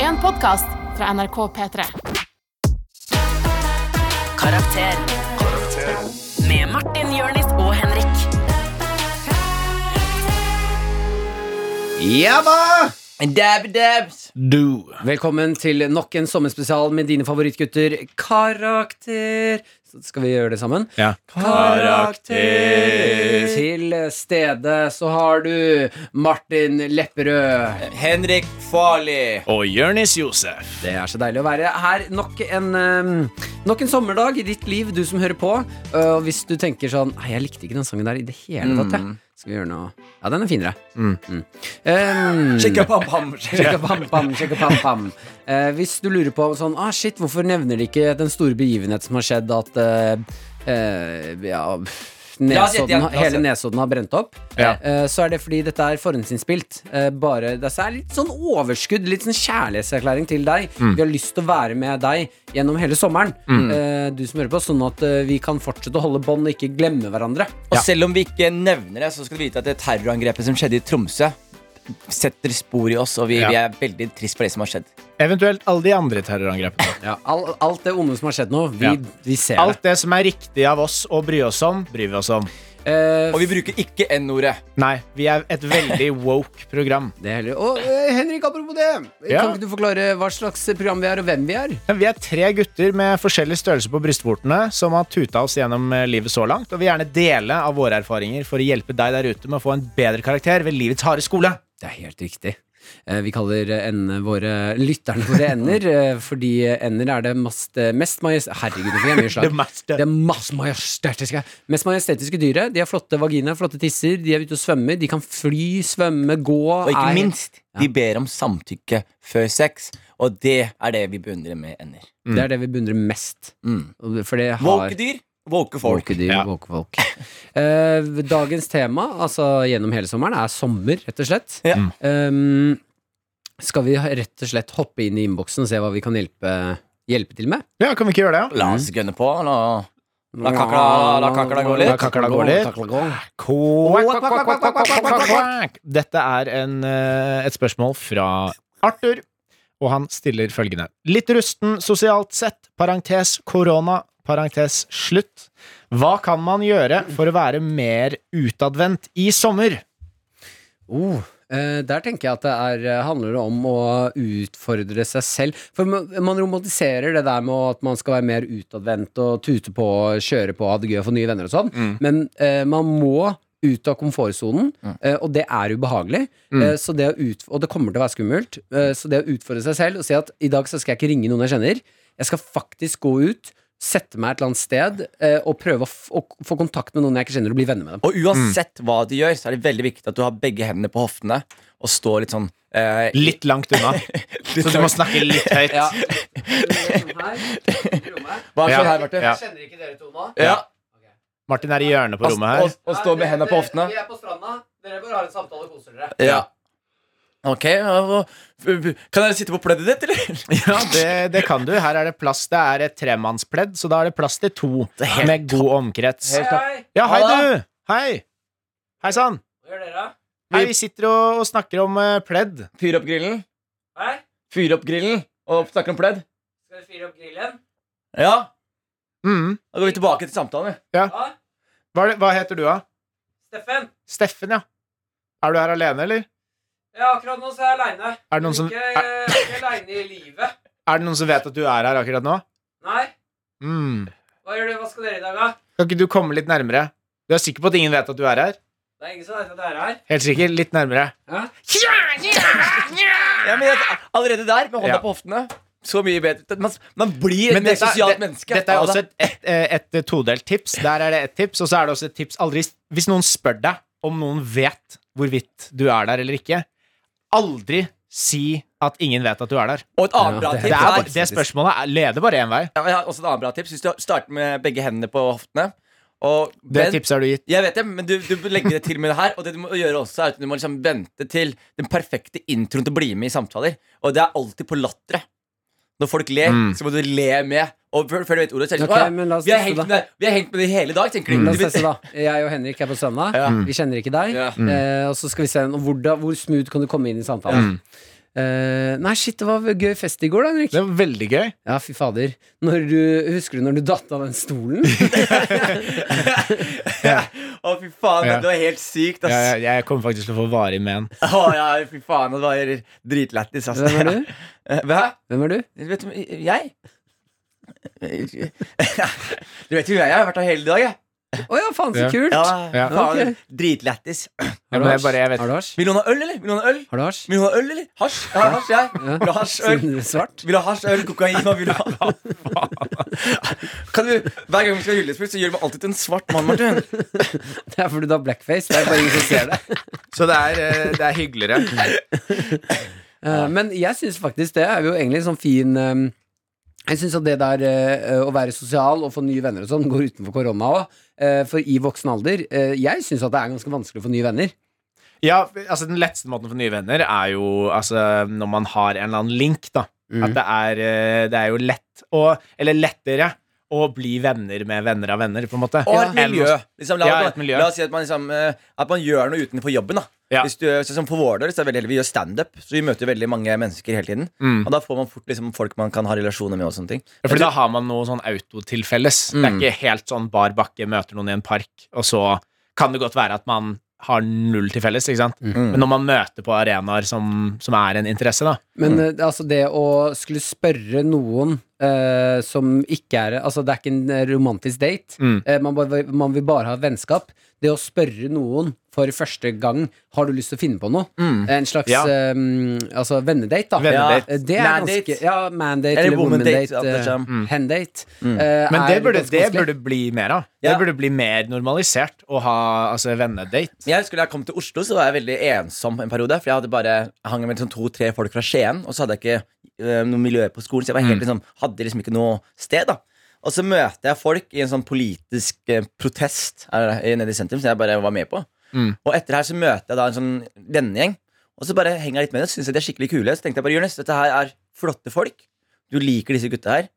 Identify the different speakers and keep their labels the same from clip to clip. Speaker 1: en podkast fra NRK P3.
Speaker 2: Karakter. Med Martin, Jørnis og Henrik.
Speaker 3: Jabba!
Speaker 4: Dab, dabs.
Speaker 3: Du.
Speaker 4: Velkommen til nok en sommerspesial med dine favorittgutter. Karakter. Så skal vi gjøre det sammen?
Speaker 3: Ja.
Speaker 4: Til stede så har du Martin Lepperød.
Speaker 5: Henrik Farli.
Speaker 3: Og Jonis Josef.
Speaker 4: Det er så deilig å være her nok en, eh, nok en sommerdag i ditt liv, du som hører på. Eh, Og hvis du tenker sånn Nei, jeg likte ikke den sangen der i det hele tatt, jeg.
Speaker 5: Mm.
Speaker 4: Skal vi gjøre noe Ja, den er finere. Mm. Eh,
Speaker 5: Chikkapam-pam.
Speaker 4: Sjekka pam, pam, sjekka pam, pam. Eh, hvis du lurer på sånn, ah, shit, hvorfor nevner de ikke den store begivenhet som har skjedd at eh, eh, ja,
Speaker 5: La oss gjette
Speaker 4: Nesodden,
Speaker 5: igjen, la oss
Speaker 4: hele
Speaker 5: gjette.
Speaker 4: Nesodden har brent opp,
Speaker 3: Ja.
Speaker 4: eh, så er det fordi dette er forhåndsinnspilt. Eh, bare, det er litt sånn overskudd, litt sånn kjærlighetserklæring til deg.
Speaker 3: Mm.
Speaker 4: Vi har lyst til å være med deg gjennom hele sommeren, eh, du som hører på, sånn at eh, vi kan fortsette å holde bånd og ikke glemme hverandre.
Speaker 5: Og selv om vi ikke nevner det, så skal du vite at det terrorangrepet som skjedde i Tromsø, setter spor i oss, og vi,
Speaker 3: Ja.
Speaker 5: vi er veldig trist for det som har skjedd.
Speaker 3: Eventuelt alle de andre terrorangrepene.
Speaker 4: All, alt det onde som har skjedd nå, vi,
Speaker 3: Ja.
Speaker 4: vi ser
Speaker 3: Alt det som er riktig av oss å bry oss om, bryr vi oss om.
Speaker 4: det. Eh,
Speaker 5: Og vi bruker ikke N-ordet.
Speaker 3: Nei, vi er et veldig woke program.
Speaker 4: Det er heller. Og eh, Henrik, apropos det.
Speaker 3: Ja.
Speaker 4: Kan ikke du forklare hva slags program vi er, og hvem vi er?
Speaker 3: Ja, Vi er tre gutter med forskjellig størrelse på brystvortene som har tuta oss gjennom eh, livet så langt, og vil gjerne dele av våre erfaringer for å hjelpe deg der ute med å få en bedre karakter ved livets harde skole.
Speaker 4: Det er helt riktig. Eh, Vi kaller eh, endene våre lytterne våre ender, eh, fordi ender er det mest, eh, mest majest... Herregud, det er mye slag.
Speaker 3: Det meste.
Speaker 4: Det er masse majestetiske Mest majestetiske dyret. De har flotte vaginaer, flotte tisser, de er ute og svømmer, de kan fly, svømme, gå
Speaker 5: Og ikke
Speaker 4: er-
Speaker 5: minst, de ber om samtykke før sex, og det er det vi beundrer med ender.
Speaker 4: Det er det vi beundrer mest.
Speaker 5: Mm.
Speaker 4: For det har
Speaker 5: Våke dyr, våke folk.
Speaker 4: Våkedyr,
Speaker 3: Ja.
Speaker 4: våkefolk. Eh, dagens tema, altså gjennom hele sommeren, er sommer, rett og slett.
Speaker 5: Ja.
Speaker 4: Um, skal vi ha- rett og slett hoppe inn i innboksen og se hva vi kan hjelpe, hjelpe til med?
Speaker 3: Ja, kan vi ikke gjøre det?
Speaker 5: La oss gønne på. La, la, kakla, la kakla gå
Speaker 3: La
Speaker 5: litt.
Speaker 3: kakla gå litt.
Speaker 4: Kakla gå.
Speaker 3: Quack, quack, quack, quack, quack, quack, quack. Dette er en, eh, et spørsmål fra Arthur, og han stiller følgende. Litt rusten sosialt sett, parentes korona, parentes slutt. Hva kan man gjøre for å være mer utadvendt i sommer?
Speaker 4: Oh, eh, der tenker jeg at det er, eh, handler det om å utfordre seg selv. For man, man romantiserer det der med at man skal være mer utadvendt og tute på og kjøre på og ha det gøy og få nye venner og sånn. Men eh, man må ut av komfortsonen, eh, og det er ubehagelig. Eh, så det å ut, og det kommer til å være skummelt. Eh, så det å utfordre seg selv og si at i dag så skal jeg ikke ringe noen jeg kjenner, jeg skal faktisk gå ut. Sette meg et eller annet sted eh, og prøve å, f å få kontakt med noen jeg ikke kjenner, og bli venner med dem.
Speaker 5: Og
Speaker 3: Mm.
Speaker 5: uansett hva du gjør, så er det veldig viktig at du har begge hendene på hoftene og står litt sånn eh,
Speaker 3: Litt langt unna, så du må snakke litt høyt.
Speaker 4: Ja.
Speaker 3: Ja.
Speaker 5: Hva skjer her, Marte?
Speaker 3: Ja.
Speaker 4: Kjenner ikke dere to nå?
Speaker 5: Ja.
Speaker 3: Martin er i hjørnet på
Speaker 5: Og,
Speaker 3: rommet her.
Speaker 5: og, og stå med hendene på hoftene.
Speaker 4: Vi er på stranda. Dere bare har en samtale og koser dere.
Speaker 5: Ja. Ok, og- kan dere sitte på pleddet ditt, eller?
Speaker 3: Ja, det, det kan du. Her er det plass. Det er et tremannspledd, så da er det plass til to med god omkrets.
Speaker 4: Hei,
Speaker 3: Ja, hei
Speaker 5: Ha
Speaker 3: du! Hei! Hei sann!
Speaker 4: hva gjør dere?
Speaker 3: Hei, vi sitter og, og snakker om eh, pledd.
Speaker 5: Fyr opp grillen.
Speaker 4: Hei,
Speaker 5: Fyr opp grillen og snakke om pledd.
Speaker 4: skal vi fyre opp grillen?
Speaker 5: Ja,
Speaker 3: Mm.
Speaker 5: da går vi tilbake til samtalen. vi.
Speaker 4: Ja,
Speaker 3: Hva, er det- hva heter du, da?
Speaker 4: Steffen.
Speaker 3: Steffen, ja. Er du her alene, eller?
Speaker 4: Ja, akkurat nå så er jeg aleine.
Speaker 3: Er det noen som-
Speaker 4: Ikke, ikke aleine i livet.
Speaker 3: Er det noen som vet at du er her akkurat nå?
Speaker 4: Nei.
Speaker 3: Mm.
Speaker 4: Hva gjør du? Hva skal dere i dag, da?
Speaker 3: Kan ikke du komme litt nærmere? Du er sikker på at ingen vet at du er her?
Speaker 4: Det er ingen som vet at dere er her.
Speaker 3: Helt sikker? Litt nærmere.
Speaker 4: Hæ?
Speaker 5: Ja, men jeg- Allerede der, med hånda
Speaker 3: Ja.
Speaker 5: på hoftene. Så mye bedre. Man, man blir et mer
Speaker 3: dette-
Speaker 5: sosialt
Speaker 3: det-
Speaker 5: menneske.
Speaker 3: Dette er
Speaker 5: Ja,
Speaker 3: også
Speaker 5: da.
Speaker 3: et, et, eh, et todelt tips. Der er det et tips, og så er det også et tips aldri Hvis noen spør deg om noen vet hvorvidt du er der eller ikke, aldri si at ingen vet at du er der.
Speaker 5: Og et annet
Speaker 4: Ja,
Speaker 5: bra
Speaker 4: det-
Speaker 5: tips
Speaker 3: Det, er,
Speaker 5: er
Speaker 3: bare- det spørsmålet er, leder bare én vei.
Speaker 5: Ja, men jeg har også et annet bra tips. Hvis du starter med begge hendene på hoftene og
Speaker 3: Det
Speaker 5: vent-
Speaker 3: tipset har du gitt.
Speaker 5: Jeg vet det, men du, du legger det til med det her. Og det du må gjøre også er at du må liksom vente til den perfekte introen til å bli med i samtaler. Og det er alltid på latteret. Når folk ler,
Speaker 3: Mm.
Speaker 5: så må du le med. Og før, før du vet ordet, så er det
Speaker 4: Ok,
Speaker 5: sånn
Speaker 4: men
Speaker 5: «Å
Speaker 4: la
Speaker 5: ja,
Speaker 4: oss
Speaker 5: vi, har
Speaker 4: teste det.» Mm.
Speaker 5: hengt med, det- vi har hengt med det hele dag, tenker de.
Speaker 4: La
Speaker 5: Du
Speaker 4: oss teste,
Speaker 5: vet-
Speaker 4: da. Jeg og Henrik er på stranda.
Speaker 3: Mm.
Speaker 5: Ja.
Speaker 4: Vi kjenner ikke deg.
Speaker 5: Ja.
Speaker 3: Mm.
Speaker 4: Eh, og så skal vi se hvordan, hvor smooth kan du komme inn i samtalen. Eh, nei, shit, det var gøy fest i går, da, Henrik.
Speaker 3: Det var veldig gøy.
Speaker 4: Ja, fy fader. Når du, husker du når du datt av den stolen?
Speaker 5: Å, fy faen,
Speaker 3: Ja.
Speaker 5: det var helt sykt, ass.
Speaker 3: Jeg, jeg, jeg kommer faktisk til å få varig men.
Speaker 5: Å, ja, fy faen, det var dritlættis, ass.
Speaker 4: Hvem er du?
Speaker 5: Hva?
Speaker 4: Hvem er du?
Speaker 5: Vet du, jeg? du vet jo hvem jeg er, jeg har vært her hele dag, jeg.
Speaker 4: Å ja, faen så
Speaker 3: Ja.
Speaker 4: kult!
Speaker 5: Ja,
Speaker 3: Ja.
Speaker 5: faen,
Speaker 4: Ok.
Speaker 5: Dritlættis.
Speaker 4: Har
Speaker 3: Ja,
Speaker 4: du
Speaker 3: men jeg
Speaker 4: hasj?
Speaker 3: bare, jeg vet.
Speaker 4: Har du hasj?
Speaker 5: Vil noen ha øl, eller? Vil noen ha øl?
Speaker 4: Har du hasj?
Speaker 5: Vil noen ha øl, eller? Hasj? Jeg har hasj, jeg.
Speaker 4: Ja.
Speaker 5: Vil du ha hasj, øl?
Speaker 4: Siden du er svart?
Speaker 5: Vil du ha hasj, øl, kokain? Hva vil du ha? Kan du, Hver gang vi skal ha julespill, så gjør du meg alltid til en svart mann, Martin.
Speaker 4: Det er fordi du har blackface. Det er bare ingen som ser det.
Speaker 6: Så det er, eh, det er hyggeligere.
Speaker 4: Eh, men jeg syns faktisk det er jo egentlig en sånn fin eh, Jeg syns at det der eh, å være sosial og få nye venner og sånn går utenfor korona òg. for i voksen alder eh, Jeg syns at det er ganske vanskelig å få nye venner.
Speaker 3: Ja, altså Den letteste måten for nye venner er jo altså, når man har en eller annen link. da
Speaker 4: Mm.
Speaker 3: At det er, eh, det er jo lett å, Eller lettere å bli venner med venner av venner, på en måte.
Speaker 5: Og
Speaker 3: Enn
Speaker 5: et miljø.
Speaker 3: å-
Speaker 5: Liksom, la,
Speaker 3: Ja,
Speaker 5: la,
Speaker 3: et miljø.
Speaker 5: oss si at man, liksom, eh, at man gjør noe utenfor jobben. da
Speaker 3: Ja.
Speaker 5: Hvis du, så, som For vår del så er det veldig, vi gjør standup, så vi møter veldig mange mennesker hele tiden.
Speaker 3: Mm.
Speaker 5: Og da får man fort liksom, folk man kan ha relasjoner med. og sånne ting
Speaker 3: Ja, Fordi da har man noe sånn autotilfelles. Det er
Speaker 5: Mm.
Speaker 3: ikke helt sånn bar bakke, møter noen i en park, og så kan det godt være at man har null til felles, ikke
Speaker 5: Mm.
Speaker 3: sant. Men når man møter på arenaer som, som er en interesse, da.
Speaker 4: Men eh, altså det å skulle spørre noen eh, som ikke er Altså det er ikke en eh, romantisk date.
Speaker 3: Mm.
Speaker 4: Eh, man, bare, man vil bare ha et vennskap. Det å spørre noen for første gang Har du lyst til å finne på noe. En
Speaker 3: Mm.
Speaker 4: slags
Speaker 3: Ja.
Speaker 4: eh, altså vennedate, da.
Speaker 3: Vennedate.
Speaker 4: Eh, Det er
Speaker 5: Mandate.
Speaker 4: ganske Ja, mandate
Speaker 5: Eller
Speaker 4: eller
Speaker 5: womandate,
Speaker 4: womandate.
Speaker 5: alt det
Speaker 4: eh,
Speaker 5: sammen.
Speaker 4: Hendate. eh,
Speaker 3: Mm. Men
Speaker 4: er
Speaker 3: det burde,
Speaker 4: ganske
Speaker 3: det
Speaker 4: vanskelig.
Speaker 3: burde bli mer av.
Speaker 5: Ja.
Speaker 3: Det burde bli mer normalisert å ha altså, vennedate.
Speaker 5: Jeg husker Da jeg kom til Oslo, så var jeg veldig ensom en periode. For jeg hadde bare jeg hang med liksom, to-tre folk fra Skien, og så hadde jeg ikke eh, noe miljø på skolen. Så jeg var helt, liksom, hadde liksom ikke noe sted. da Og så møter jeg folk i en sånn politisk eh, protest er det, nede i sentrum, som jeg bare var med på.
Speaker 3: Mm.
Speaker 5: Og etter her så møter jeg da en sånn vennegjeng, og så bare henger jeg litt med dem. Så synes jeg de er skikkelig kule. Så tenkte jeg bare, Jonis, dette her er flotte folk. Du liker disse gutta her.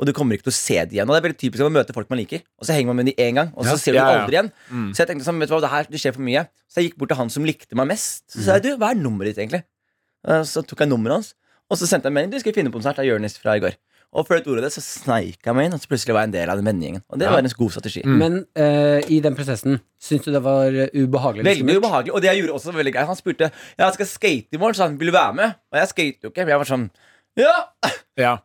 Speaker 5: Og du kommer ikke til å se dem igjen. Og det er veldig typisk å møte folk man liker. Og så henger man med dem én gang, og så
Speaker 3: Ja,
Speaker 5: ser du
Speaker 3: ja,
Speaker 5: dem
Speaker 3: ja.
Speaker 5: aldri igjen.
Speaker 3: Mm.
Speaker 5: Så jeg tenkte sånn, vet du hva, det her det skjer for mye. Så jeg gikk bort til han som likte meg mest. Så
Speaker 3: Mm.
Speaker 5: sa jeg, du, hva er nummeret ditt egentlig? Eh, Så tok jeg nummeret hans, og så sendte jeg en melding. Du skal vi finne på konsert av Jonis fra i går. Og før jeg tok ordet av det, så sneik jeg meg inn, og så plutselig var jeg en del av den vennegjengen. Og det var en god strategi.
Speaker 3: Mm.
Speaker 4: Men eh, i den prosessen, syns du det var eh, ubehagelig? eller
Speaker 5: Veldig
Speaker 4: skummelt?
Speaker 5: ubehagelig. Og det jeg gjorde også var veldig greit. Han spurte ja, jeg skal skate i morgen, så han ville være med. Og jeg skater jo ikke. Men jeg var sånn Ja!
Speaker 3: Ja.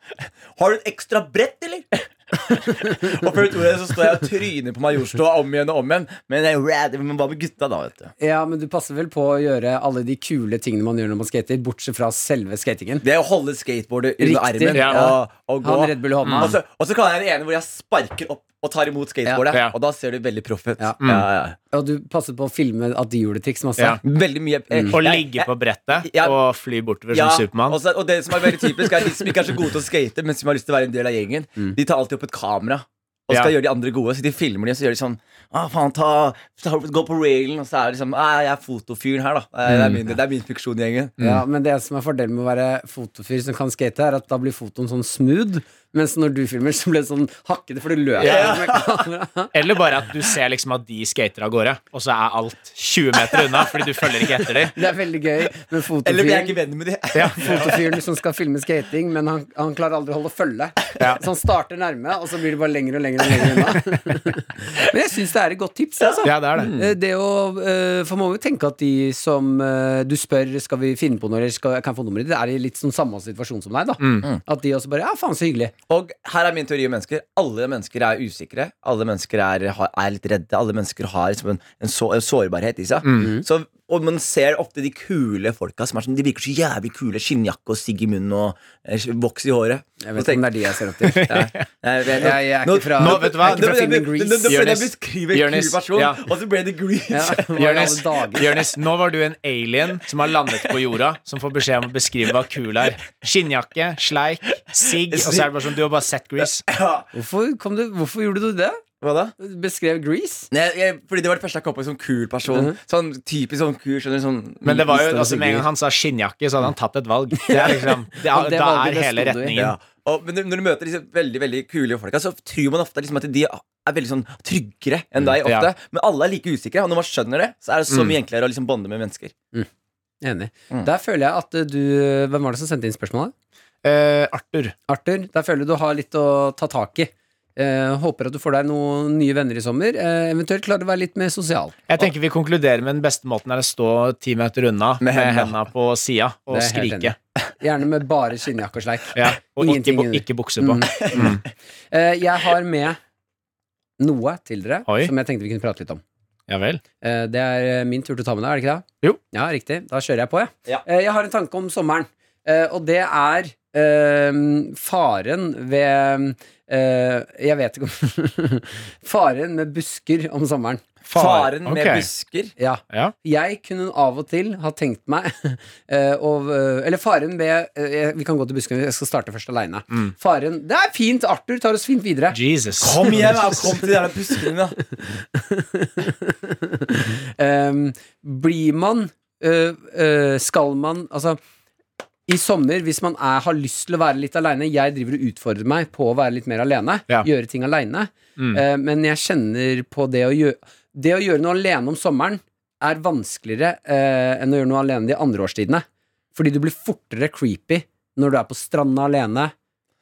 Speaker 5: Har du et ekstra brett, eller? og før du tror det, så står jeg og tryner på Majorstua om igjen og om igjen. Men jeg men hva med gutta, da, vet du?
Speaker 4: Ja, men du passer vel på å gjøre alle de kule tingene man gjør når man skater, bortsett fra selve skatingen.
Speaker 5: Det er å holde skateboardet under
Speaker 4: Riktig,
Speaker 5: armen
Speaker 3: ja.
Speaker 5: og, og gå.
Speaker 4: Han Red Bull i hånda.
Speaker 5: Og så, og så kan jeg den ene hvor jeg sparker opp og tar imot skateboardet.
Speaker 3: Ja. Ja.
Speaker 5: Og da ser du veldig proff ut.
Speaker 4: Ja. Mm.
Speaker 5: Ja, ja.
Speaker 4: Og du passer på å filme at de gjorde triks masse.
Speaker 3: Ja.
Speaker 5: Veldig mye
Speaker 4: Mm.
Speaker 5: eh,
Speaker 3: Å
Speaker 5: jeg-
Speaker 3: ligge på brettet
Speaker 5: Ja.
Speaker 3: og fly bortover
Speaker 5: Ja,
Speaker 3: som Supermann.
Speaker 5: Og, så, og det som er veldig typisk, er de som ikke er så gode til å skate, men som har lyst til å være en del av gjengen, de tar alltid opp et kamera. Og skal
Speaker 3: Mm. Ja.
Speaker 5: gjøre de andre gode, så de filmer de, og så gjør de sånn ah, faen, ta, ta, Gå på railen, og så er det liksom ah, Jeg er fotofyren her, da. Eh,
Speaker 3: Mm.
Speaker 5: Det er min, det er min funksjon i gjengen.
Speaker 4: Ja, men det som er fordelen med å være fotofyr som kan skate, er at da blir fotoen sånn smooth, mens når du filmer, så blir det sånn hakkete, for du løper med kamera.
Speaker 3: Eller bare at du ser liksom at de skater av gårde, og så er alt 20 meter unna fordi du følger ikke etter dem.
Speaker 4: Det er veldig gøy med
Speaker 5: Eller blir jeg
Speaker 4: fotofyren.
Speaker 5: ikke venn med de?
Speaker 4: Fotofyren som skal filme skating, men han, han klarer aldri å holde følge. Så han starter nærme, og så blir det bare lenger og lenger og lenger unna. Men jeg syns det er et godt tips, altså.
Speaker 3: Ja, det er
Speaker 5: Mm.
Speaker 3: det.
Speaker 4: Eh, Det å, eh, for man må jo tenke at de som eh, du spør Skal vi finne på noe, eller skal, kan jeg få nummeret ditt, er i litt sånn samme situasjon som deg. da
Speaker 3: Mm.
Speaker 4: At de også bare Ja, faen, så hyggelig.
Speaker 5: Og her er min teori om mennesker. Alle mennesker er usikre. Alle mennesker er, har- er litt redde. Alle mennesker har liksom en, en, så, en sårbarhet i seg.
Speaker 4: Mm.
Speaker 5: Så, og man ser ofte de kule folka som er sånn De virker så jævlig kule. Skinnjakke og sigg i munnen og eh, voks i håret.
Speaker 4: Jeg
Speaker 5: Og
Speaker 4: vet ikke
Speaker 5: tenk-
Speaker 4: om det er de jeg ser opp til.
Speaker 5: Nei, nei, jeg-
Speaker 4: Jeg- jeg er ikke fra-
Speaker 3: nå, vet du hva?
Speaker 4: jeg er ikke fra
Speaker 5: Nå-
Speaker 4: filmen
Speaker 5: nå-
Speaker 4: Grease.
Speaker 5: nå- nå føler jeg
Speaker 3: Jonis.
Speaker 5: beskriver en kul
Speaker 3: Jonis,
Speaker 5: person,
Speaker 3: ja.
Speaker 5: og så ble det Grease.
Speaker 4: Ja, hva i alle
Speaker 3: Jonis,
Speaker 4: dager?
Speaker 3: Jonis, nå var du en alien som har landet på jorda, som får beskjed om å beskrive hva kul er. Skinnjakke, sleik, sigg, og så er det bare sånn Du har bare sett Grease.
Speaker 4: Hvorfor, kom du, hvorfor gjorde du det?
Speaker 5: Hva da?
Speaker 4: Beskrev Grease?
Speaker 5: Nei, jeg, fordi det var det første jeg kom på som kul person.
Speaker 4: Mhm.
Speaker 5: Sånn typisk sånn kul, skjønner du. Sånn,
Speaker 3: Men det var jo,
Speaker 4: Liten
Speaker 3: altså med en gang han sa skinnjakke, så hadde han tapt et valg. Det er liksom, det
Speaker 4: Og
Speaker 3: er,
Speaker 4: det
Speaker 3: da er
Speaker 4: valget, det
Speaker 3: hele
Speaker 4: sto du i.
Speaker 3: retningen.
Speaker 5: Ja. Og, men når du møter disse veldig veldig kule folka, så tror man ofte liksom at de er veldig sånn tryggere enn deg. ofte
Speaker 3: Mm. Ja. Mm.
Speaker 5: Men alle er like usikre, og når man skjønner det, så er det så mye enklere å liksom bonde med mennesker.
Speaker 4: Enig.
Speaker 5: Mm.
Speaker 4: Der føler jeg at eh, du Hvem var det som sendte inn spørsmålet?
Speaker 3: Eh, Arthur.
Speaker 4: Arthur, der føler jeg du har litt å ta tak i. Eh, håper at du får deg noen nye venner i sommer. Eh, eventuelt klarer du å være litt mer sosial.
Speaker 3: Jeg tenker vi konkluderer med den beste måten er å stå ti meter unna med,
Speaker 5: Med hendene.
Speaker 3: henda på sida og
Speaker 4: Det er helt
Speaker 3: skrike.
Speaker 4: Gjerne med bare skinnjakke og sleik.
Speaker 3: Ja, og ikke,
Speaker 4: Ingenting
Speaker 3: bu-
Speaker 4: under.
Speaker 3: ikke bukse på. Mm.
Speaker 4: Eh, jeg har med noe til dere
Speaker 3: Oi.
Speaker 4: som jeg tenkte vi kunne prate litt om.
Speaker 3: Ja vel.
Speaker 4: Eh, det er eh, min tur til å ta med deg, er det ikke det?
Speaker 3: Jo.
Speaker 4: Ja, riktig. Da kjører jeg på, jeg.
Speaker 5: Ja.
Speaker 4: Eh, jeg har en tanke om sommeren, eh, og det er eh, faren ved eh, Jeg vet ikke om Faren med busker om sommeren.
Speaker 5: Faren med
Speaker 3: Ok.
Speaker 5: busker.
Speaker 4: Ja.
Speaker 3: Ja.
Speaker 4: Jeg kunne av og til ha tenkt meg eh, og, eh, Eller faren ved eh, Vi kan gå til buskene, jeg skal starte først aleine. Faren Det er fint! Arthur tar oss fint videre.
Speaker 3: Jesus.
Speaker 5: Kom hjem, da! Kom til de der buskene, da.
Speaker 4: Ehm, blir man øh, øh, Skal man Altså i sommer, hvis man er, har lyst til å være litt aleine Jeg driver og utfordrer meg på å være litt mer aleine.
Speaker 3: Ja.
Speaker 4: Gjøre ting aleine.
Speaker 3: Mm.
Speaker 4: Eh, men jeg kjenner på det å gjøre Det å gjøre noe alene om sommeren er vanskeligere eh, enn å gjøre noe alene de andre årstidene. Fordi du blir fortere creepy når du er på stranda alene,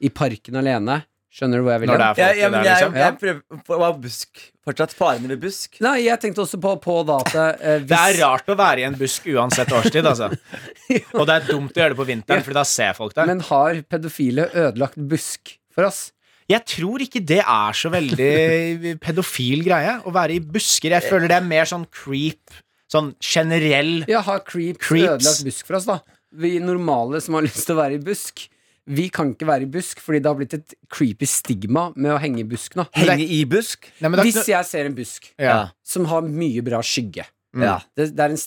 Speaker 4: i parken alene. Skjønner du hvor jeg vil
Speaker 3: Når det er
Speaker 5: Ja,
Speaker 3: folk
Speaker 5: ja, men
Speaker 3: der,
Speaker 5: jeg,
Speaker 3: liksom.
Speaker 5: jeg prøver på hva er busk. Fortsatt farene ved busk.
Speaker 4: Nei, jeg tenkte også på, på da at eh, hvis
Speaker 3: Det er rart å være i en busk uansett årstid, altså. Og det er dumt å gjøre det på vinteren, for da ser folk deg.
Speaker 4: Men har pedofile ødelagt busk for oss?
Speaker 3: Jeg tror ikke det er så veldig pedofil greie å være i busker. Jeg føler det er mer sånn creep, sånn generell
Speaker 4: Ja, har creeps,
Speaker 3: Creeps.
Speaker 4: ødelagt busk for oss, da? Vi normale som har lyst til å være i busk. Vi kan ikke være i busk, fordi det har blitt et creepy stigma med å henge i busk nå.
Speaker 5: Henge i busk.
Speaker 3: Nei, men det er
Speaker 4: Hvis
Speaker 3: ikke noe-
Speaker 4: jeg ser en busk
Speaker 3: ja. Mm.
Speaker 4: som har mye bra skygge
Speaker 5: Ja.
Speaker 4: det, det er en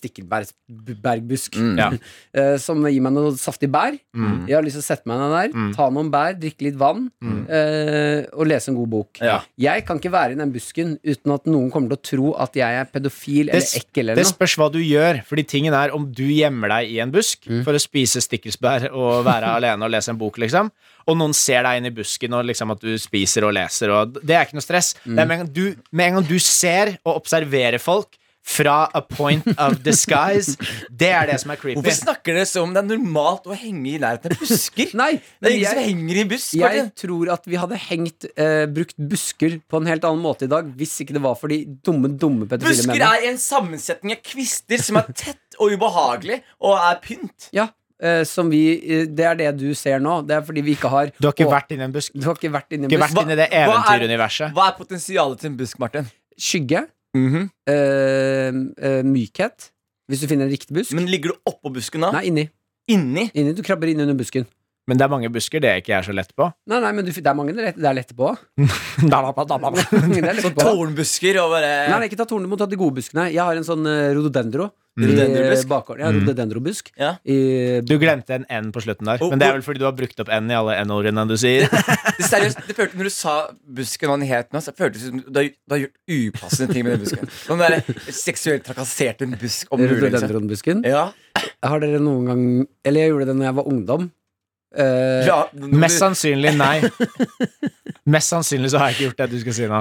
Speaker 4: stikkelbergbusk
Speaker 3: Ja.
Speaker 4: eh, som gir meg noe saftig bær. Jeg har lyst til å sette meg ned der, ta noen bær, drikke litt vann eh, og lese en god bok.
Speaker 5: Ja.
Speaker 4: Jeg kan ikke være i den busken uten at noen kommer til å tro at jeg er pedofil
Speaker 3: Det,
Speaker 4: eller ekkel
Speaker 3: det
Speaker 4: eller noe.
Speaker 3: spørs hva du gjør, fordi tingen er om du gjemmer deg i en busk
Speaker 5: Mm.
Speaker 3: for å spise stikkelsbær og være alene og lese en bok, liksom, og noen ser deg inn i busken og liksom at du spiser og leser, og det er ikke noe stress.
Speaker 5: Mm.
Speaker 3: Det er med, en gang du, med en gang du ser og observerer folk fra a point of disguise, det er det som er creepy.
Speaker 5: Hvorfor snakker dere som om det er normalt å henge i nærheten av busker?
Speaker 4: Nei,
Speaker 5: det
Speaker 4: men
Speaker 5: er ingen som
Speaker 4: jeg,
Speaker 5: henger i busk.
Speaker 4: jeg
Speaker 5: Martin.
Speaker 4: tror at vi hadde hengt eh, brukt busker på en helt annen måte i dag hvis ikke det var for de dumme, dumme pedofile
Speaker 5: Busker
Speaker 4: mennene.
Speaker 5: er en sammensetning av kvister som er tett og ubehagelig og er pynt.
Speaker 4: Ja, eh, som vi, eh, det er det du ser nå. Det er fordi vi ikke har
Speaker 3: Du har ikke
Speaker 4: å-
Speaker 3: vært inni en busk.
Speaker 4: du har ikke vært inni en
Speaker 3: Ikke
Speaker 4: busk.
Speaker 3: vært inni det
Speaker 5: hva er-
Speaker 3: eventyruniverset.
Speaker 5: Hva er potensialet til en busk, Martin?
Speaker 4: Skygge.
Speaker 5: Mhm.
Speaker 4: eh, eh, mykhet. Hvis du finner en riktig busk.
Speaker 5: Men ligger du oppå busken da?
Speaker 4: Nei, inni.
Speaker 5: Inni?
Speaker 4: inni. Du krabber inn under busken.
Speaker 3: Men det er mange busker, det er ikke jeg så lett på.
Speaker 4: Nei, nei, men du, fin- det er mange det er lett- det er lett på. det er lett på.
Speaker 5: Tårnbusker og bare
Speaker 4: Nei, nei, ikke ta tornene mot ta de gode buskene. Jeg har en sånn eh, rododendro. i
Speaker 5: Rododendrobusk?
Speaker 4: bakgården. Ja, rododendrobusk.
Speaker 5: Mm. Ja.
Speaker 4: I
Speaker 3: Du glemte en N på slutten der,
Speaker 5: Og-
Speaker 3: men det er vel fordi du har brukt opp N i alle N-ordene du sier.
Speaker 5: Det, seriøst, det følte Når du sa busken og han het nå, så føltes det som du har, du har gjort upassende ting med den busken. Sånn der, seksuelt trakassert en busk om mulig. liksom.
Speaker 4: rododendronbusken.
Speaker 5: Ja.
Speaker 4: Har dere noen gang Eller jeg gjorde det når jeg var ungdom. Eh,
Speaker 5: ja når du-
Speaker 3: Mest sannsynlig nei. Mest sannsynlig så har jeg ikke gjort det du skal si nå.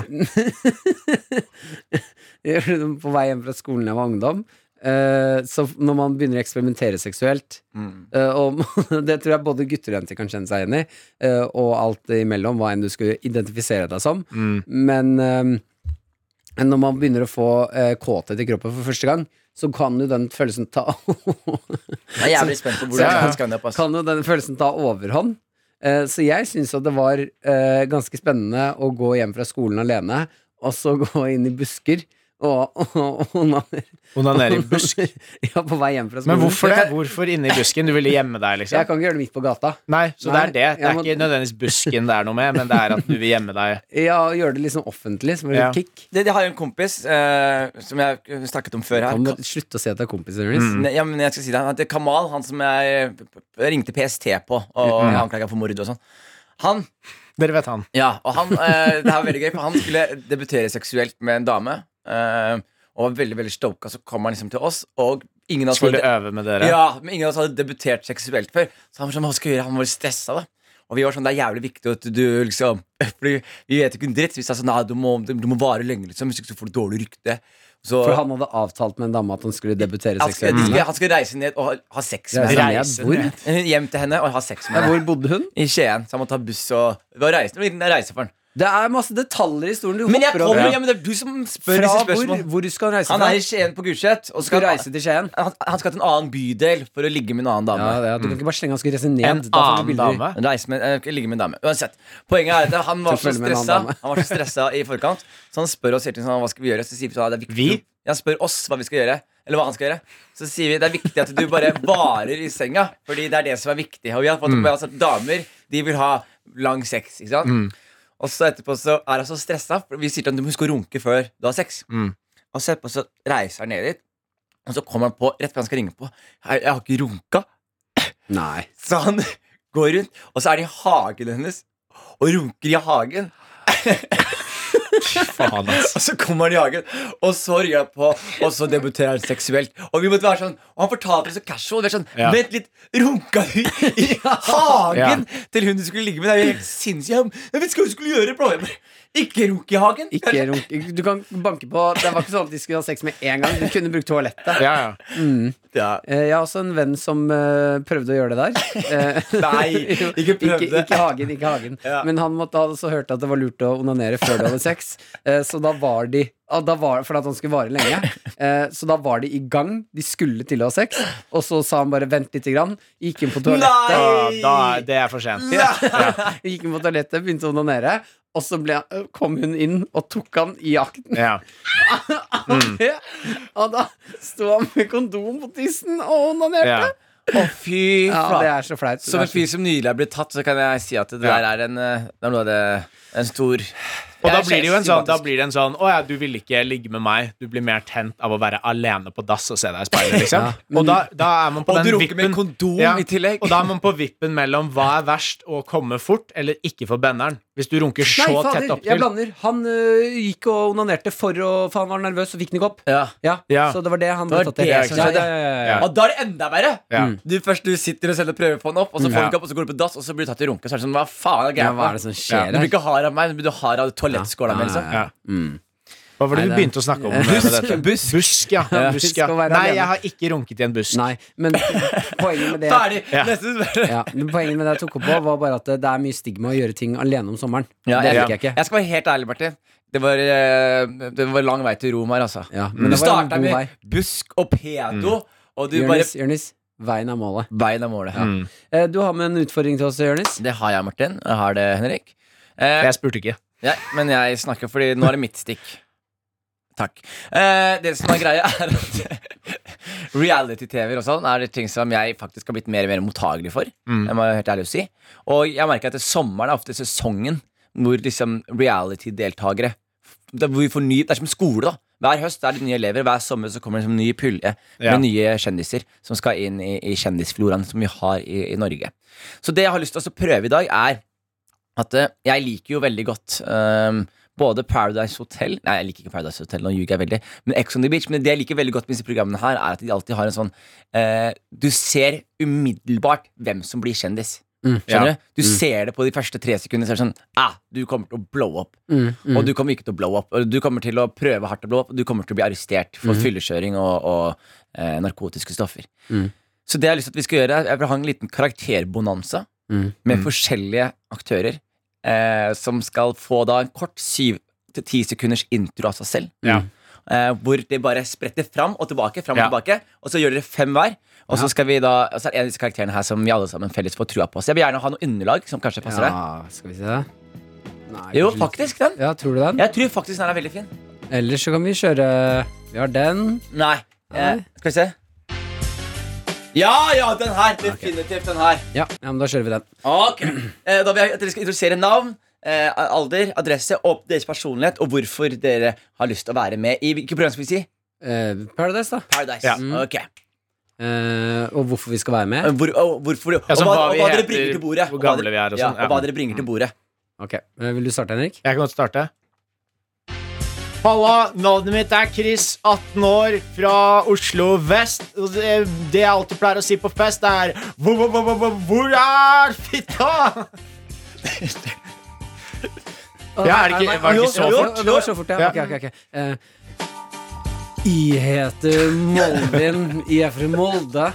Speaker 4: jeg gjorde det på vei hjem fra skolen da jeg var ungdom. Eh, så f- når man begynner å eksperimentere seksuelt
Speaker 5: Mm.
Speaker 4: eh, og Det tror jeg både gutter og jenter kan kjenne seg igjen i, eh, og alt imellom, hva enn du skulle identifisere deg som.
Speaker 5: Mm.
Speaker 4: Men eh, når man begynner å få eh, kåthet i kroppen for første gang, så kan jo den følelsen ta
Speaker 5: Jeg er jævlig spent på hvor
Speaker 4: Ja, ja.
Speaker 5: det skal ende opp. altså. ass.
Speaker 4: kan jo den følelsen ta overhånd. Eh, Så jeg syns at det var eh, ganske spennende å gå hjem fra skolen alene, og så gå inn i busker og og- og onanere.
Speaker 3: Onanere i busk.
Speaker 4: Ja, på vei hjem fra skolen.
Speaker 3: Men hvorfor det? Hvorfor inne i busken? Du ville gjemme deg,
Speaker 4: Jeg
Speaker 3: liksom?
Speaker 4: kan ikke gjøre det midt på gata.
Speaker 3: Nei, så det
Speaker 4: Nei,
Speaker 3: er det. Det
Speaker 4: jeg
Speaker 3: er
Speaker 4: må-
Speaker 3: ikke nødvendigvis busken det er noe med, men det er at du vil gjemme deg.
Speaker 4: Ja, Gjøre det liksom offentlig, som en
Speaker 3: Ja.
Speaker 4: kick.
Speaker 5: Det, jeg har jo en kompis eh, som jeg snakket om før
Speaker 4: Man
Speaker 5: her.
Speaker 4: må slutte å si at det Mm. er kompiser. Jonis.
Speaker 3: Mm.
Speaker 5: Ne- Ja, men jeg skal si deg at Kamal, han som jeg p- p- ringte PST på og
Speaker 4: Mm.
Speaker 3: Ja.
Speaker 5: anklaga for mord og sånn Han,
Speaker 3: Dere vet han.
Speaker 5: ja, og han eh, Det her var veldig gøy, for han skulle debutere seksuelt med en dame. eh, og var veldig veldig stoka, så kom han liksom til oss, og ingen av oss
Speaker 3: Skulle
Speaker 5: hadde,
Speaker 3: øve med dere.
Speaker 5: ja, men ingen av oss hadde debutert seksuelt før. Så han var sånn, hva skal vi gjøre? Han var stressa, da. Og vi var sånn, det er jævlig viktig at du liksom Fordi vi vet jo ikke en dritt. Så vi sa sånn, nei, du må, du må vare lenge, liksom, hvis ikke så får du dårlig rykte. Og Så,
Speaker 4: For han hadde avtalt med en dame at han skulle debutere
Speaker 5: han, skal,
Speaker 4: seksuelt.
Speaker 5: de
Speaker 4: med
Speaker 5: skal,
Speaker 4: henne.
Speaker 5: han skal reise ned og ha, ha sex med
Speaker 4: Reise
Speaker 5: henne.
Speaker 4: ned. Hvor?
Speaker 3: ned.
Speaker 5: Eh, Hjem til henne og ha sex
Speaker 4: Ja,
Speaker 5: med henne.
Speaker 4: hvor bodde hun?
Speaker 5: I Skien. Så han må ta buss og det var reise, det var en liten reise for han.
Speaker 4: Det er masse detaljer i historien. Du
Speaker 5: Men jeg
Speaker 4: hopper
Speaker 5: kommer
Speaker 4: over.
Speaker 5: hjem, det er du som spør
Speaker 4: Fra
Speaker 5: disse
Speaker 4: hvor?
Speaker 5: spørsmålene.
Speaker 4: Hvor skal han reise
Speaker 5: Han
Speaker 4: fra?
Speaker 5: er i Skien på Gulset, og
Speaker 4: Skal
Speaker 5: skal
Speaker 4: du
Speaker 5: han,
Speaker 4: reise til Skien?
Speaker 5: han, han skal til en annen bydel for å ligge med en annen dame.
Speaker 4: Ja, det er, du kan ikke bare slenge han skulle reise ned.
Speaker 3: En
Speaker 4: da får du
Speaker 3: annen
Speaker 4: bilder.
Speaker 3: dame.
Speaker 5: Reise med, eh, ligge med en dame. Uansett. Poenget er at han var
Speaker 4: Så
Speaker 5: så
Speaker 4: følg med en annen
Speaker 5: stressa
Speaker 4: dame.
Speaker 5: Han var så stressa i forkant, så han spør oss hele tiden sånn, hva skal vi gjøre. Så sier vi sånn, det er viktig
Speaker 3: Vi?
Speaker 5: Ja, Han spør oss hva vi skal gjøre. Eller hva han skal gjøre. Så sier vi det er viktig at du bare varer i senga, Fordi det er det som er viktig. Og vi har fått
Speaker 3: Mm.
Speaker 5: med oss at damer De vil ha lang sex. Ikke sant?
Speaker 3: Mm.
Speaker 5: Og så etterpå så er han så stressa. for Vi sier til ham du må huske å runke før du har sex.
Speaker 3: Mm.
Speaker 5: Og så etterpå så reiser han ned dit, og så kommer han på rett før han skal ringe på. Jeg, jeg har ikke runka.
Speaker 4: Nei.
Speaker 5: Så han går rundt, og så er det i hagen hennes og runker i hagen.
Speaker 3: Faen, ass.
Speaker 5: Og så kommer han i hagen, og så ryr han på, og så debuterer han seksuelt. Og vi måtte være sånn, og han fortalte det så casual. Vi er sånn,
Speaker 3: Ja.
Speaker 5: Vent litt, runka du i hagen til hun du skulle ligge med? Det er jo helt sinnssykt. Jeg vet ikke hva du skulle gjøre. bro. Jeg bare, Ikke runke i hagen.
Speaker 4: Ikke runk. Du kan banke på Det var ikke sånn at de skulle ha sex med en gang. Du kunne brukt toalettet.
Speaker 3: Ja, ja.
Speaker 5: Ja.
Speaker 4: Eh, Jeg har også en venn som eh, prøvde å gjøre det der. Eh,
Speaker 5: Nei,
Speaker 4: jo,
Speaker 5: ikke prøvde.
Speaker 4: Ikke, ikke hagen, ikke hagen.
Speaker 5: Ja.
Speaker 4: Men han måtte ha også hørt at det var lurt å onanere før du hadde sex. Eh, Så da var de ah, da var, For at han skulle vare lenge. Eh, Så da var de i gang. De skulle til å ha sex. Og så sa han bare 'vent lite grann'. Gikk inn på toalettet.
Speaker 3: Da, Ah,
Speaker 5: Nei!
Speaker 3: da er det er for sent.
Speaker 4: Gikk inn på toalettet, begynte å onanere. Og så ble, han- kom hun inn og tok han i jakten.
Speaker 3: Ja.
Speaker 4: Og da sto han med kondom på tissen og
Speaker 3: Ja.
Speaker 4: onanerte.
Speaker 5: Å, fy
Speaker 4: Ja,
Speaker 5: flate.
Speaker 4: det er så flaut.
Speaker 5: Som
Speaker 4: Det
Speaker 5: en
Speaker 4: er så-
Speaker 5: fyr som nylig er blitt tatt, så kan jeg si at det der
Speaker 3: Ja.
Speaker 5: er en, eh, det er noe av det En stor
Speaker 3: Og da
Speaker 5: Jeg er
Speaker 3: blir det jo en sånn, da
Speaker 5: sympatisk.
Speaker 3: blir det en sånn Å ja, du ville ikke ligge med meg. Du blir mer tent av å være alene på dass og se deg i speilet, liksom. Og da, da er man på
Speaker 5: Og
Speaker 3: den
Speaker 5: du runker
Speaker 3: vippen
Speaker 5: med kondom i tillegg.
Speaker 3: Og da er man på vippen mellom hva er verst, å komme fort eller ikke for benderen. Hvis du runker så
Speaker 4: Nei, fader,
Speaker 3: tett opp
Speaker 4: jeg
Speaker 3: til.
Speaker 4: blander. Han ø, gikk og onanerte for å For han var nervøs og fikk den ikke opp.
Speaker 5: Ja
Speaker 4: Ja,
Speaker 3: Ja.
Speaker 4: Så det var det han
Speaker 5: Det
Speaker 4: ble
Speaker 5: var
Speaker 4: tatt til.
Speaker 5: det som
Speaker 4: Ja,
Speaker 5: skjedde.
Speaker 4: ja, ja, ja, ja.
Speaker 5: Og da er det enda verre! Mm.
Speaker 3: Ja. Mm.
Speaker 5: Du først du sitter og selger prøver på den opp, og så får du ikke opp, og så går du på dass, og så blir du tatt i runke. Så er det sånn, hva faen er
Speaker 4: Ja,
Speaker 5: greia?
Speaker 4: hva er det som skjer
Speaker 5: Du blir
Speaker 4: her?
Speaker 5: ikke hard av meg, men du blir hard av toalettskåla mi. liksom.
Speaker 3: Ja. Hva var det du
Speaker 4: Mm. Nei, det-
Speaker 3: begynte å snakke om? med
Speaker 5: Busk,
Speaker 3: dette?
Speaker 5: busk.
Speaker 3: Busk, ja.
Speaker 4: Ja,
Speaker 3: Busk,
Speaker 4: skal
Speaker 3: ja.
Speaker 4: være
Speaker 3: Nei,
Speaker 4: alene.
Speaker 3: jeg har ikke runket i en busk.
Speaker 4: Nei, men poenget med det
Speaker 5: Ferdig!
Speaker 3: Ja.
Speaker 5: Neste spørsmål.
Speaker 4: ja, men Poenget med det jeg tok opp på, var bare at det det er mye stigma å gjøre ting alene om sommeren.
Speaker 5: Ja,
Speaker 4: det
Speaker 5: jeg,
Speaker 4: liker jeg ikke.
Speaker 5: jeg skal være helt ærlig, Martin. Det var, eh, det var lang vei til Rom her, altså.
Speaker 4: Ja, men
Speaker 5: Du
Speaker 4: det var en
Speaker 5: starta
Speaker 4: god vei.
Speaker 5: med busk og
Speaker 3: Mm.
Speaker 5: pedo, og du bare
Speaker 4: Jonis, Jonis, veien er målet.
Speaker 5: Bein av målet.
Speaker 4: Eh, Du har med en utfordring til oss, Jonis.
Speaker 5: Det har jeg, Martin. Jeg har det, Henrik. Eh,
Speaker 3: Jeg spurte ikke.
Speaker 5: ja, men jeg snakker fordi nå er det mitt stikk. Takk. Eh, det som er greia, er at reality-TV-er og sånn er det ting som jeg faktisk har blitt mer og mer mottagelig for. Jeg må være helt ærlig å si Og jeg merker at det sommeren er ofte sesongen hvor liksom reality-deltakere det, er hvor vi får ny, det er som skole, da. Hver høst er det nye elever, hver sommer så kommer det som ny pulje med
Speaker 3: Ja.
Speaker 5: nye kjendiser som skal inn i, i kjendisfloraen som vi har i, i Norge. Så det jeg har lyst til å prøve i dag, er at eh, jeg liker jo veldig godt ehm, både Paradise Hotel Nei, jeg liker ikke Paradise Hotel, nå ljuger jeg veldig. Men Ex on the Beach. Men det jeg liker veldig godt med disse programmene, her er at de alltid har en sånn eh, Du ser umiddelbart hvem som blir kjendis. Skjønner
Speaker 3: Ja.
Speaker 5: du? Du ser det på de første tre sekundene. Så er det sånn ah, Du kommer til å blow up. Og du kommer ikke til å blow up. Og du kommer til å prøve hardt å blow up. Og du kommer til å bli arrestert for fyllekjøring og, og eh, narkotiske stoffer.
Speaker 4: Mm.
Speaker 5: Så det jeg har lyst til at vi skal gjøre, er- jeg vil ha en liten karakterbonanza
Speaker 4: Mm.
Speaker 5: med forskjellige aktører eh, som skal få da en kort syv til ti sekunders intro av seg selv.
Speaker 3: Ja.
Speaker 5: Eh, hvor de bare spretter fram og tilbake, fram og
Speaker 3: Ja.
Speaker 5: tilbake. Og så gjør dere fem hver. Og så skal vi da, og så er det en av disse karakterene her som vi alle sammen felles får trua på. Så jeg vil gjerne ha noe underlag som kanskje passer deg.
Speaker 4: Ja, skal vi se. Nei,
Speaker 5: Jo,
Speaker 4: kanskje litt-
Speaker 5: faktisk den.
Speaker 4: Ja, tror du den?
Speaker 5: Jeg tror faktisk den her er veldig fin.
Speaker 4: Ellers så kan vi kjøre Vi har den.
Speaker 5: Nei. Eh, skal vi se. Ja, ja, den her. Definitivt den her.
Speaker 4: Ja, ja men da kjører vi den.
Speaker 5: Ok eh, Da vil jeg at dere skal introdusere navn, eh, alder, adresse og deres personlighet, og hvorfor dere har lyst til å være med i hvilket program skal vi si?
Speaker 4: Eh, Paradise, da.
Speaker 5: Paradise.
Speaker 3: Ja.
Speaker 5: Ok
Speaker 4: Eh, og hvorfor vi skal være med.
Speaker 5: Hvor, og, hvorfor,
Speaker 3: Ja,
Speaker 5: og
Speaker 3: så
Speaker 5: hva,
Speaker 3: hva
Speaker 5: og
Speaker 3: vi
Speaker 5: hva dere
Speaker 3: heter,
Speaker 5: bringer til bordet.
Speaker 3: hvor
Speaker 5: og hva
Speaker 3: gamle
Speaker 5: dere-
Speaker 3: vi er og
Speaker 5: ja,
Speaker 3: sånn, ja.
Speaker 5: og hva dere bringer til bordet.
Speaker 4: Ok, eh, Vil du starte, Henrik?
Speaker 3: Jeg kan godt starte. Halla, navnet mitt er Chris, 18 år, fra Oslo vest. Og Det det jeg alltid pleier å si på fest, er Hvor, hvor, hvor, hvor, hvor er fitta? Ja, er det ikke- var det ikke så
Speaker 4: Jo,
Speaker 3: fort?
Speaker 4: jo, Det var så fort, ja.
Speaker 3: Ja.
Speaker 4: Ok, ok, ok. Eh, Jeg heter Moldin. Jeg er fra Molde.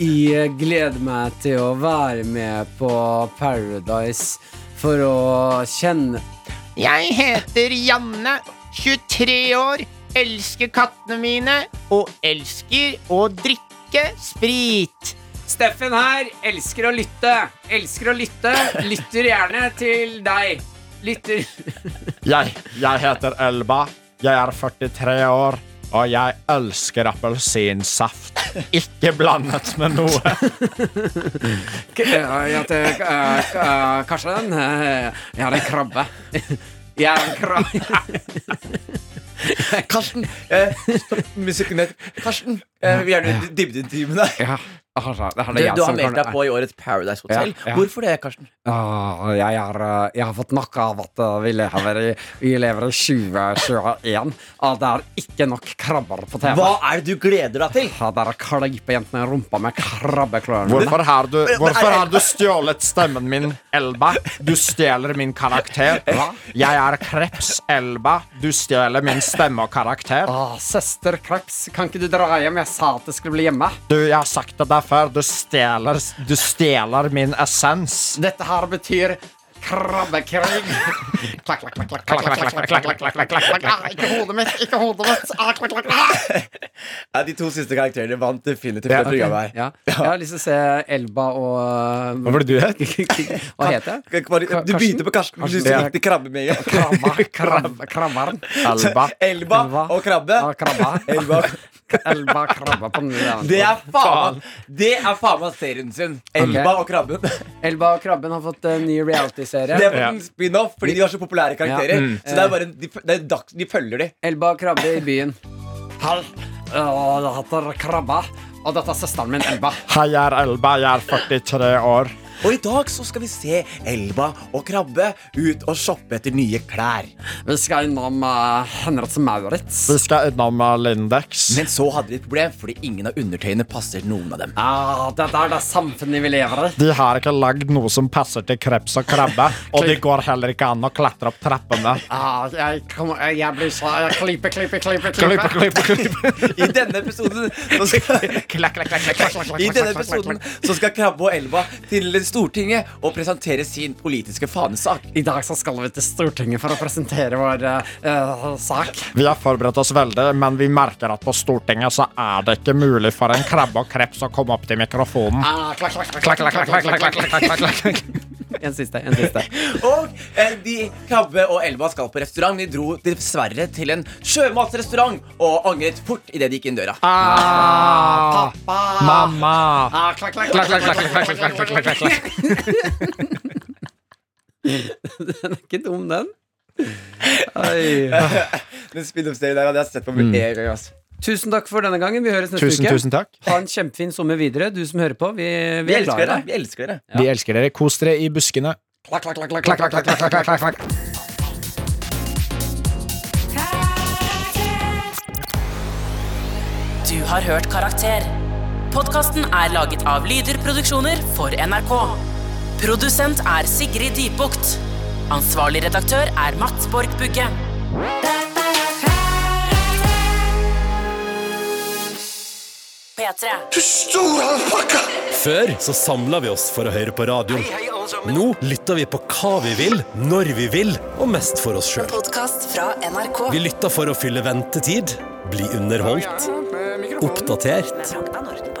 Speaker 4: Jeg gleder meg til å være med på Paradise for å kjenne
Speaker 3: Jeg heter Janne, 23 år, elsker kattene mine og elsker å drikke sprit.
Speaker 4: Steffen her. Elsker å lytte. Elsker å lytte. Lytter gjerne til deg. Lytter
Speaker 3: Jeg, jeg heter Elba, jeg er 43 år, og jeg elsker appelsinsaft. Ikke blandet med noe.
Speaker 5: eh,
Speaker 4: Jeg heter Karsten. Jeg har en krabbe. Jeg har en krabbe.
Speaker 5: Karsten, eh, stopp musikken litt. Karsten,
Speaker 3: Mm.
Speaker 5: eh, vi vil gjerne dybde intimen her.
Speaker 4: Ja, altså, det er
Speaker 5: Du,
Speaker 4: det jeg
Speaker 5: du har
Speaker 4: som
Speaker 5: meldt
Speaker 4: kan-
Speaker 5: deg på i årets Paradise Hotel.
Speaker 4: Ja, ja.
Speaker 5: Hvorfor det, Karsten?
Speaker 4: Åh, jeg, er, eh, jeg har fått nok av at eh, vi lever i, vi lever i 2021. At det er ikke nok krabber på TV.
Speaker 5: Hva er det du gleder deg til?
Speaker 4: Ja, Der klyper jentene i rumpa med krabbeklørne.
Speaker 3: Hvorfor har du, hvorfor har du stjålet stemmen min, Elba? Du stjeler min karakter. Jeg er Kreps Elba. Du stjeler min stemme og karakter.
Speaker 4: Åh, Ah, søster Kreps, kan ikke du dra hjem? Jeg sa at jeg skulle bli hjemme.
Speaker 3: Du, jeg har sagt det der før. Du stjeler, du stjeler min essens.
Speaker 4: Dette her betyr krabbekrig. klakk, klakk, klakk, klakk, klakk, klakk, klakk, klakk, klakk, klakk, klakk, klakk. Ah, Ikke hodet mitt, ikke hodet mitt. Ah, klakk, klakk, klakk. Ah.
Speaker 5: Ja, de to siste karakterene vant definitivt det programmet her.
Speaker 4: Ja. Jeg har lyst til å se Elba og
Speaker 3: Hva var det du het?
Speaker 4: Hva heter jeg?
Speaker 5: Kan- kan-
Speaker 4: Ka-
Speaker 5: Du begynte på Karsten, men du
Speaker 4: Karsten, ja.
Speaker 5: gikk til krabbe med en gang.
Speaker 4: Krabba, krabba, krabbaren.
Speaker 3: Elba.
Speaker 5: Elba
Speaker 4: Ja,
Speaker 5: og krabbe.
Speaker 4: krabba.
Speaker 5: Elba.
Speaker 4: Elba krabba på den
Speaker 5: Det er faen meg Det er faen meg serien sin. Elba og krabben.
Speaker 4: Elba og krabben har fått en ny
Speaker 5: Det er
Speaker 4: reality-serie.
Speaker 5: fått en spin-off fordi de har så populære karakterer.
Speaker 4: Ja.
Speaker 5: Så det er bare en, de, det er dags, de følger de.
Speaker 4: Elba og krabbe i byen. Hall. Jeg heter Krabba, og dette er søsteren min, Elba.
Speaker 3: Hei, jeg er Elba. Jeg er 43 år.
Speaker 5: Og i dag så skal vi se Elba og Krabbe ut og shoppe etter nye klær.
Speaker 4: Vi skal innom uh, Henriks Maurits.
Speaker 3: Vi skal innom eh, Lindex.
Speaker 5: Men så hadde de et problem fordi ingen av undertøyene passer noen av dem.
Speaker 4: Ah, dette er det samfunnet vi lever i.
Speaker 3: De har ikke lagd noe som passer til kreps og krabbe. Og de går heller ikke an å klatre opp trappene.
Speaker 4: Ah, jeg, kommer- jeg blir så jeg Klype, klype, klype.
Speaker 3: Klipp,
Speaker 4: klype.
Speaker 3: klipp, klipp.
Speaker 5: I denne episoden så skal, I denne episoden så skal Krabbe og Elba til Stortinget og presentere sin politiske fanesak.
Speaker 4: I dag så skal vi til Stortinget for å presentere vår eh, eh, sak.
Speaker 3: Vi har forberedt oss veldig, men vi merker at på Stortinget så er det ikke mulig for en krabbe og kreps å komme opp til mikrofonen.
Speaker 4: Ah, klakk, klakk, klakk, klakk, klakk, klakk, klakk, klakk, klakk. En siste, en siste.
Speaker 5: Og eh, de Krabbe og Elba skal på restaurant. De dro dessverre til en sjømatrestaurant og angret fort idet de gikk inn døra.
Speaker 3: Ah, mamma!
Speaker 4: Ah, klakk, klakk, klakk, klakk, klakk, klakk, klakk, klakk, klakk, klakk. Den er ikke dum, den. Oi.
Speaker 5: Den spin-off-serien der hadde jeg sett på med en gang. ass.
Speaker 4: Tusen takk for denne gangen. Vi høres neste
Speaker 3: Tusen,
Speaker 4: uke.
Speaker 3: tusen takk.
Speaker 4: Ha en kjempefin sommer videre, du som hører på. Vi, vi,
Speaker 5: Vi
Speaker 4: er glad i deg.
Speaker 5: elsker dere. Vi elsker dere.
Speaker 3: Vi elsker dere. Kos dere i buskene.
Speaker 4: Klakk, klakk, klakk, klakk, klakk, klakk, klakk.
Speaker 2: Du har hørt Karakter. Podkasten er laget av Lyder Produksjoner for NRK. Produsent er Sigrid Dybukt. Ansvarlig redaktør er Mats Borg Bugge. P3.
Speaker 7: Før så samla vi oss for å høre på radioen. Nå lytter vi på hva vi vil, når vi vil, og mest for oss sjøl. Vi lytter for å fylle ventetid, bli underholdt, oppdatert